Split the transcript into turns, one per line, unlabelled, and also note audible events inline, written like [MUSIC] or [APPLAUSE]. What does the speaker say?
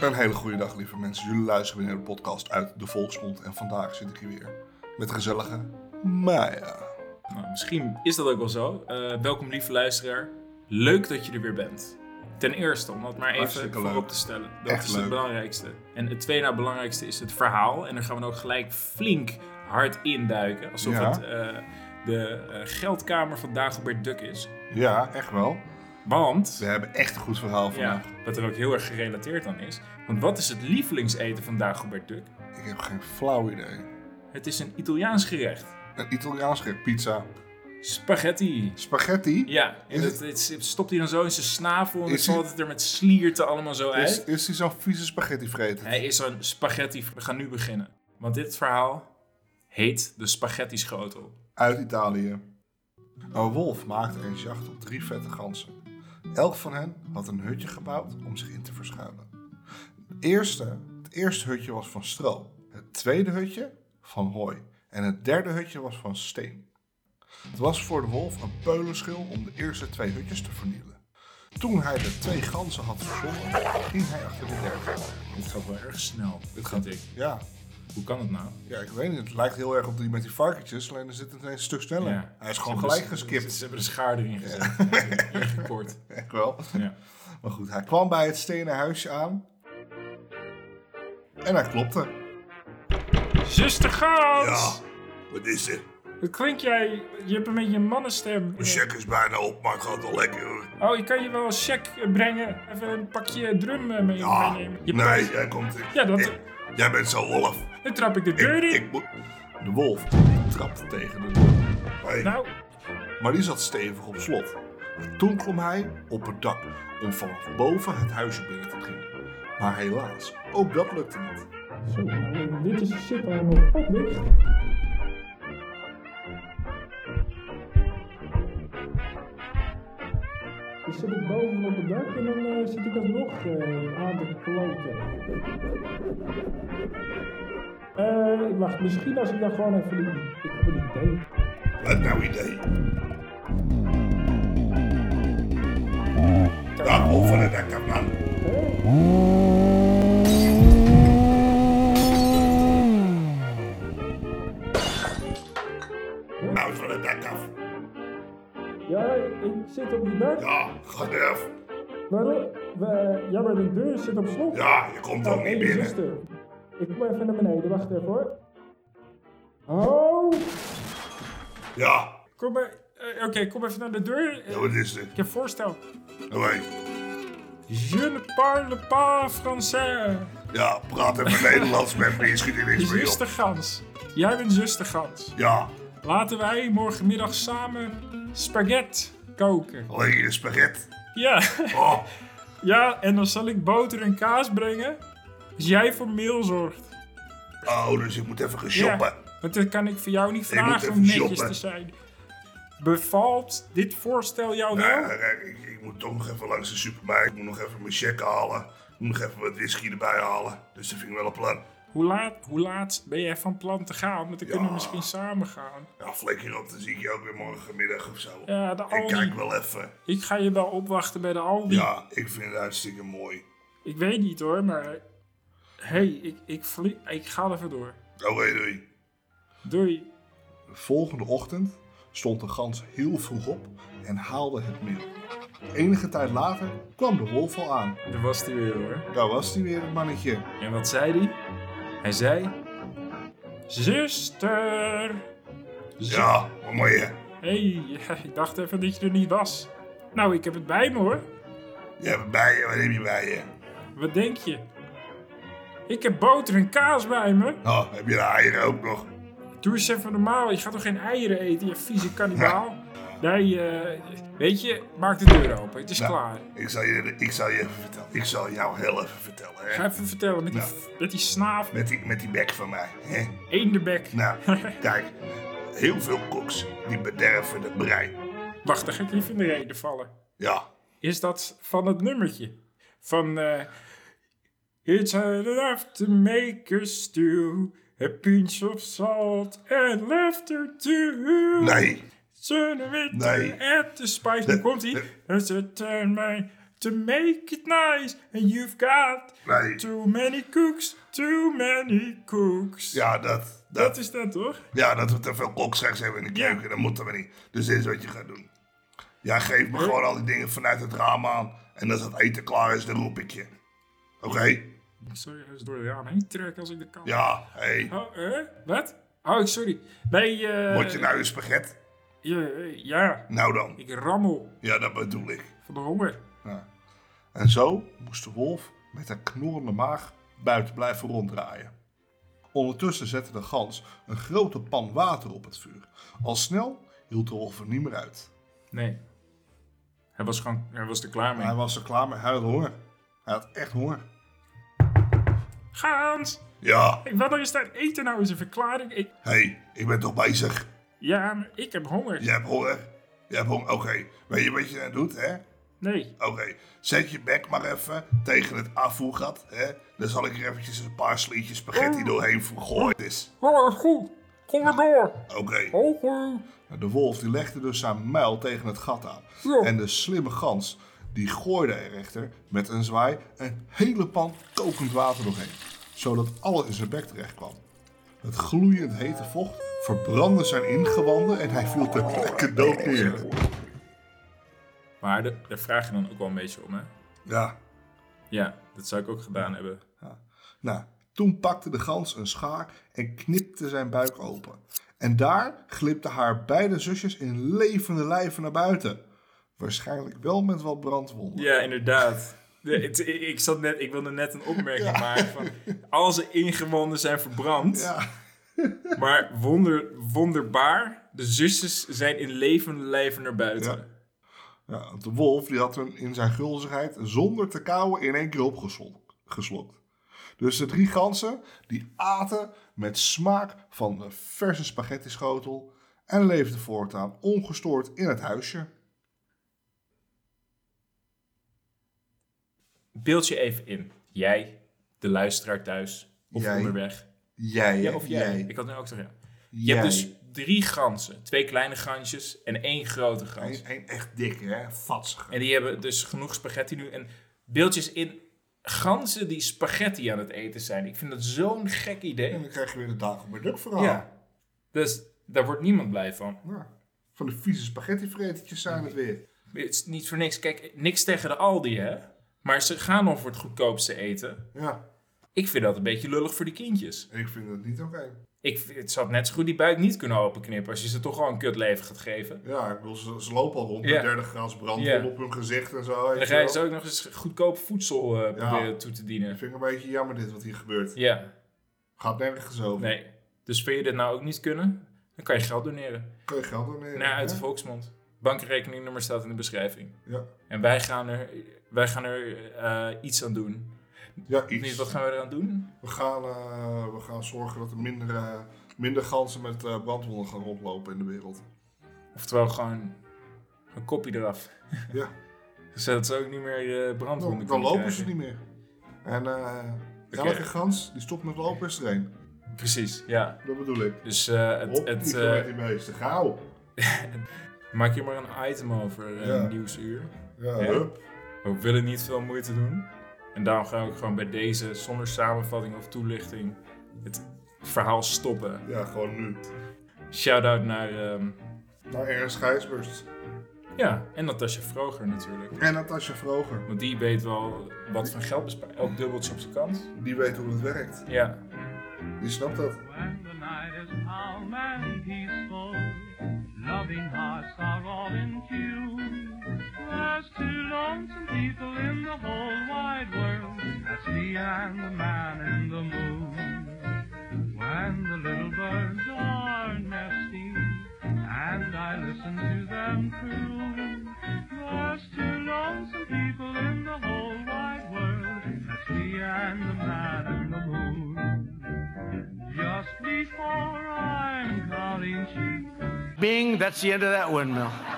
Een hele goede dag, lieve mensen. Jullie luisteren weer naar de podcast uit de Volksmond. En vandaag zit ik hier weer met de gezellige Maya.
Nou, misschien is dat ook wel zo. Eh, welkom lieve luisteraar. Leuk dat je er weer bent. Ten eerste, om dat maar even
Hartstikke leuk.
voorop te stellen. Dat
Echt
is
leuk.
het belangrijkste. En het tweede na belangrijkste is het verhaal. En daar gaan we dan ook gelijk flink hard induiken. Alsof
Ja.
het eh, de eh, geldkamer van Dagobert Duck is.
Ja, echt wel.
Want,
We hebben echt een goed verhaal
ja,
vandaag.
wat er ook heel erg gerelateerd aan is. Want wat is het lievelingseten van Dagobert Duck?
Ik heb geen flauw idee.
Het is een Italiaans gerecht.
Een Italiaans gerecht, pizza,
Spaghetti.
spaghetti.
Ja, en
Is
dat, het, het stopt hij dan zo in zijn snavel en
Is
dan valt
hij-
het er met slierten allemaal zo uit.
Is, is die zo'n vieze spaghetti vreten?
Hij is een spaghetti. We gaan nu beginnen. Want dit verhaal heet de spaghetti schotel.
Uit Italië. Een wolf maakte eens jacht op drie vette ganzen. Elk van hen had een hutje gebouwd om zich in te verschuilen. Het eerste, het eerste hutje was van stro, het tweede hutje van hooi en het derde hutje was van steen. Het was voor de wolf een peulenschil om de eerste twee hutjes te vernielen. Toen hij de twee ganzen had verzonnen, ging hij achter de derde.
Dit gaat wel erg snel. Dit gaat ik.
Ja,
Hoe kan het nou?
ja, ik weet niet. Het lijkt heel erg op die met die varkentjes, alleen er zit het ineens een stuk sneller.
Ja.
Hij is
Ze
gewoon
hebben
gelijk
de- Ze,
geskipt.
ze hebben de schaar erin gezet. Ja. Ingekort.
Echt wel.
Ja.
Maar goed, hij kwam bij het stenen huisje aan. En hij klopte.
Zuster Gans!
wat is er?
Wat klink jij? Je hebt een beetje een mannenstem.
is bijna op, maar het gaat wel lekker hoor.
Oh, je kan je wel een check brengen. Even een pakje drum eh, mee
Ah,
meenemen. Je
nee, jij komt er.
Ja, dat-
jij bent zo'n wolf.
Dan trap ik de deur in.
moet... De wolf trapte tegen de deur. Hey.
Nou,
Maar die zat stevig op slot. En toen klom hij op het dak om vanaf boven het huisje binnen te dringen. Maar helaas, ook dat lukte niet.
Zo, nou, dit is shit helemaal op dicht. Dus zit ik bovenop het dak en dan eh, zit ik alsnog eh aan te kloten. Eh, ik wacht, misschien als ik dan gewoon even die... Ik heb een idee.
Wat nou idee? Daar over het dak, man. Nou, van het dak af.
Ja, ik zit op die dak.
Ja, gedurf.
eh,
Waarom? We, ja, maar de deur zit op slot.
Ja, je komt
Oh,
ook niet
hey,
binnen.
eh.
zuster. Ik kom even naar beneden, wacht even hoor. Oh!
Ja,
Kom maar, eh, oké, kom even naar de deur. Eh,
ja, wat is dit? Nou,
ik heb voorstel.
Hoi.
Je ne parle pas français.
Ja, praat even Nederlands met me, je schiet er niks mee op.
Zustergans. Jij bent zustergans.
Ja,
Laten wij morgenmiddag samen spaghetti koken.
alleen je spaghetti.
Ja. [LAUGHS]
Oh,
ja, en dan zal ik boter en kaas brengen als jij voor meel zorgt.
oh, dus ik moet even gaan
Ja,
shoppen.
want dat kan ik voor jou niet
Ik moet
vragen om
even
netjes
shoppen.
te zijn. Bevalt dit voorstel jou wel?
Ja, kijk, ik, ik moet toch nog even langs de supermarkt. Ik moet nog even mijn check halen. Ik moet nog even wat whisky erbij halen. Dus dat vind ik wel een plan.
Hoe, laat, hoe laat ben jij van plan te gaan? Want dan kunnen we misschien samen gaan.
Ja, flik hierop, dan zie ik je ook weer morgenmiddag of zo.
Ja, de
ik
Aldi.
kijk wel even.
Ik ga je wel opwachten bij de Aldi.
Ja, ik vind het hartstikke mooi.
Ik weet niet hoor, maar... hey, ik, ik, vlie- ik ga even door.
Nou, Oké, doei.
Doei.
De volgende ochtend stond de gans heel vroeg op en haalde het meel. Enige tijd later kwam de wolf al aan.
Daar was hij weer hoor.
Daar was hij weer, het mannetje.
En wat zei hij? Hij zei... Zuster! Zu-
Ja, wat mooi hè.
Hey, [LAUGHS] ja, ik dacht even dat je er niet was. Nou, ik heb het bij me hoor.
Je hebt bij je, wat heb je bij je?
Wat denk je? Ik heb boter en kaas bij me.
Oh, heb je de eieren ook nog?
Doe eens even normaal, je gaat toch geen eieren eten, je vieze kannibaal? Nee, eh, weet je, maak de deur open, het is
Nou.
klaar.
Ik zal, je, ik zal je even vertellen. Ik zal jou heel even vertellen. Hè?
Ga even vertellen, met die, met die snaaf,
Nou. Met, die, met die bek van mij. Hè?
eendebek.
Nou, kijk. Heel veel koks die bederven het brein.
[LAUGHS] Wacht, dan ga ik even in de reden vallen.
Ja.
is dat van het nummertje. Van eh It's hard enough to make a stew. A pinch of salt and laughter too.
Nee.
Zullen we
Nee.
at the spice. Dan komt ie.
nee.
It's a time my to make it nice. And you've got
Nee.
too many cooks, too many cooks.
Ja, dat,
Dat
dat,
is dat toch?
ja, dat we te veel kokseks hebben in de
Ja.
keuken, dat moeten we niet. Dus dit is wat je gaat doen. Jij geeft me gewoon al die dingen vanuit het raam aan. En als het eten klaar is, dan roep ik je. Oké?
Ik zou je eens door de raam heen trekken als ik dat kan.
Ja, hé. Hey.
Oh, eh? Wat? Oh, sorry. Nee, eh...
Word je nou een spaghet?
Ja, eh, ja,
Nou dan.
ik rammel
Ja, dat bedoel ik.
van de honger.
Ja. En zo moest de wolf met haar knorrende maag buiten blijven ronddraaien. Ondertussen zette de gans een grote pan water op het vuur. Al snel hield de wolf er niet meer uit.
Nee. Hij was, gewoon, hij was er klaar mee.
Hij was er klaar mee, hij had honger. Hij had echt honger.
Gaans!
Ja,
Ik wil nog eens dat eten nou eens een verklaring. Ik,
hé, hey, ik ben toch bezig?
ja, maar ik heb honger.
Je hebt honger? Je hebt honger? Oké, weet je wat je nou doet, hè?
Nee.
Oké, zet je bek maar even tegen het afvoergat, hè? Dan zal ik er eventjes een paar slietjes spaghetti doorheen gegooid is.
Oh, goed. Kom maar door.
Oké.
Hoger.
Nou, De wolf die legde dus zijn muil tegen het gat aan.
Ja.
En de slimme gans die gooide er echter met een zwaai een hele pan kokend water doorheen. Zodat alles in zijn bek terecht kwam. Het gloeiend hete vocht verbrandde zijn ingewanden en hij viel ter plekke dood neer.
Maar de- daar vraag je dan ook wel een beetje om, hè?
Ja,
Ja, dat zou ik ook gedaan hebben.
nou, toen pakte de gans een schaar en knipte zijn buik open. En daar glipten haar beide zusjes in levende lijven naar buiten. Waarschijnlijk wel met wat brandwonden.
Ja, inderdaad. Nee, het- ik, ik zat net, ik wilde net een opmerking maken van... Al zijn ingewanden zijn verbrand.
Ja.
Maar wonder, wonderbaar, de zusjes zijn in levende lijven naar buiten.
Ja, want de wolf die had hem in zijn gulzigheid zonder te kauwen in één keer opgeslokt. geslokt. Dus de drie ganzen die aten met smaak van de verse spaghetti schotel en leefden voortaan ongestoord in het huisje.
Beeld je even in. Jij, de luisteraar thuis, of
Jij.
onderweg.
Jij,
Ja,
hè?
of jij.
jij.
Ik had nu ook zeggen. Je
Jij.
hebt dus drie ganzen. Twee kleine gansjes en één grote gans.
Eén, één echt dikke, hè? Vatsige.
En die hebben dus genoeg spaghetti nu. En beeldjes in ganzen die spaghetti aan het eten zijn. Ik vind dat zo'n gek
En
idee.
dan krijg je weer de dagen bij Duk verhaal.
Ja. Dus daar wordt niemand blij van.
Ja. Van de vieze spaghettivretertjes zijn het weer.
Het is niet voor niks. Kijk, niks tegen de Aldi, hè. Maar ze gaan al voor het goedkoopste eten.
Ja,
Ik vind dat een beetje lullig voor die kindjes.
ik vind dat niet oké.
Ik, vind- het zou net zo goed die buik niet kunnen openknippen als je ze toch al een kutleven gaat geven.
Ja, ik bedoel, ze, ze lopen al rond
Ja.
met 30 graden brand
Ja.
op hun gezicht en zo.
En dan ga je ze ook nog eens goedkoop voedsel eh,
Ja.
proberen toe te dienen.
Ik vind het een beetje jammer dit wat hier gebeurt.
Ja,
Gaat nergens over.
nee. Dus vind je dit nou ook niet kunnen? Dan kan je geld doneren.
Kun je geld doneren?
Naar uit de
hè?
Volksmond. Bankrekeningnummer staat in de beschrijving.
Ja.
En wij gaan er, wij gaan er eh, iets aan doen.
ja,
Niet,
iets.
wat gaan we eraan doen?
We, gaan, eh, we gaan zorgen dat er minder, eh, minder ganzen met eh, brandwonden gaan rondlopen in de wereld.
Oftewel gewoon een kopje eraf.
[LAUGHS]
[LAUGHS]
Ja. Nou,
Zodat ze ook niet meer eh brandwonden
Dan, dan lopen ze niet meer. En eh
Oké.
elke gans die stopt met lopen is er één.
niet. Precies, ja.
Dat bedoel ik.
Dus eh, het,
Op
het,
die
eh,
uh, die meeste. Gauw.
maak hier maar een item over eh,
Ja.
nieuwsuur.
Ja,
Ja.
hup.
We willen niet veel moeite doen. En daarom ga ik gewoon bij deze, zonder samenvatting of toelichting, het verhaal stoppen.
ja, gewoon nu.
Shout-out naar, ehm,
Naar Ernst Gijsbers.
ja, en Natasja Vroger natuurlijk.
En Natasja Vroger.
Want die weet wel wat van geld bespaart. Elk dubbeltje op zijn kant.
Die weet hoe het werkt.
Ja.
Die snapt dat.
When the night is calm and peaceful, loving hearts are all in tune. There's two lonesome people in the whole wide world, that's me and the man in the moon. When the little birds are nesting, and I listen to them croon, there's two lonesome people in the whole wide world, that's me and the man in the moon. Just before I'm calling cheek,
Bing, that's the end of that windmill.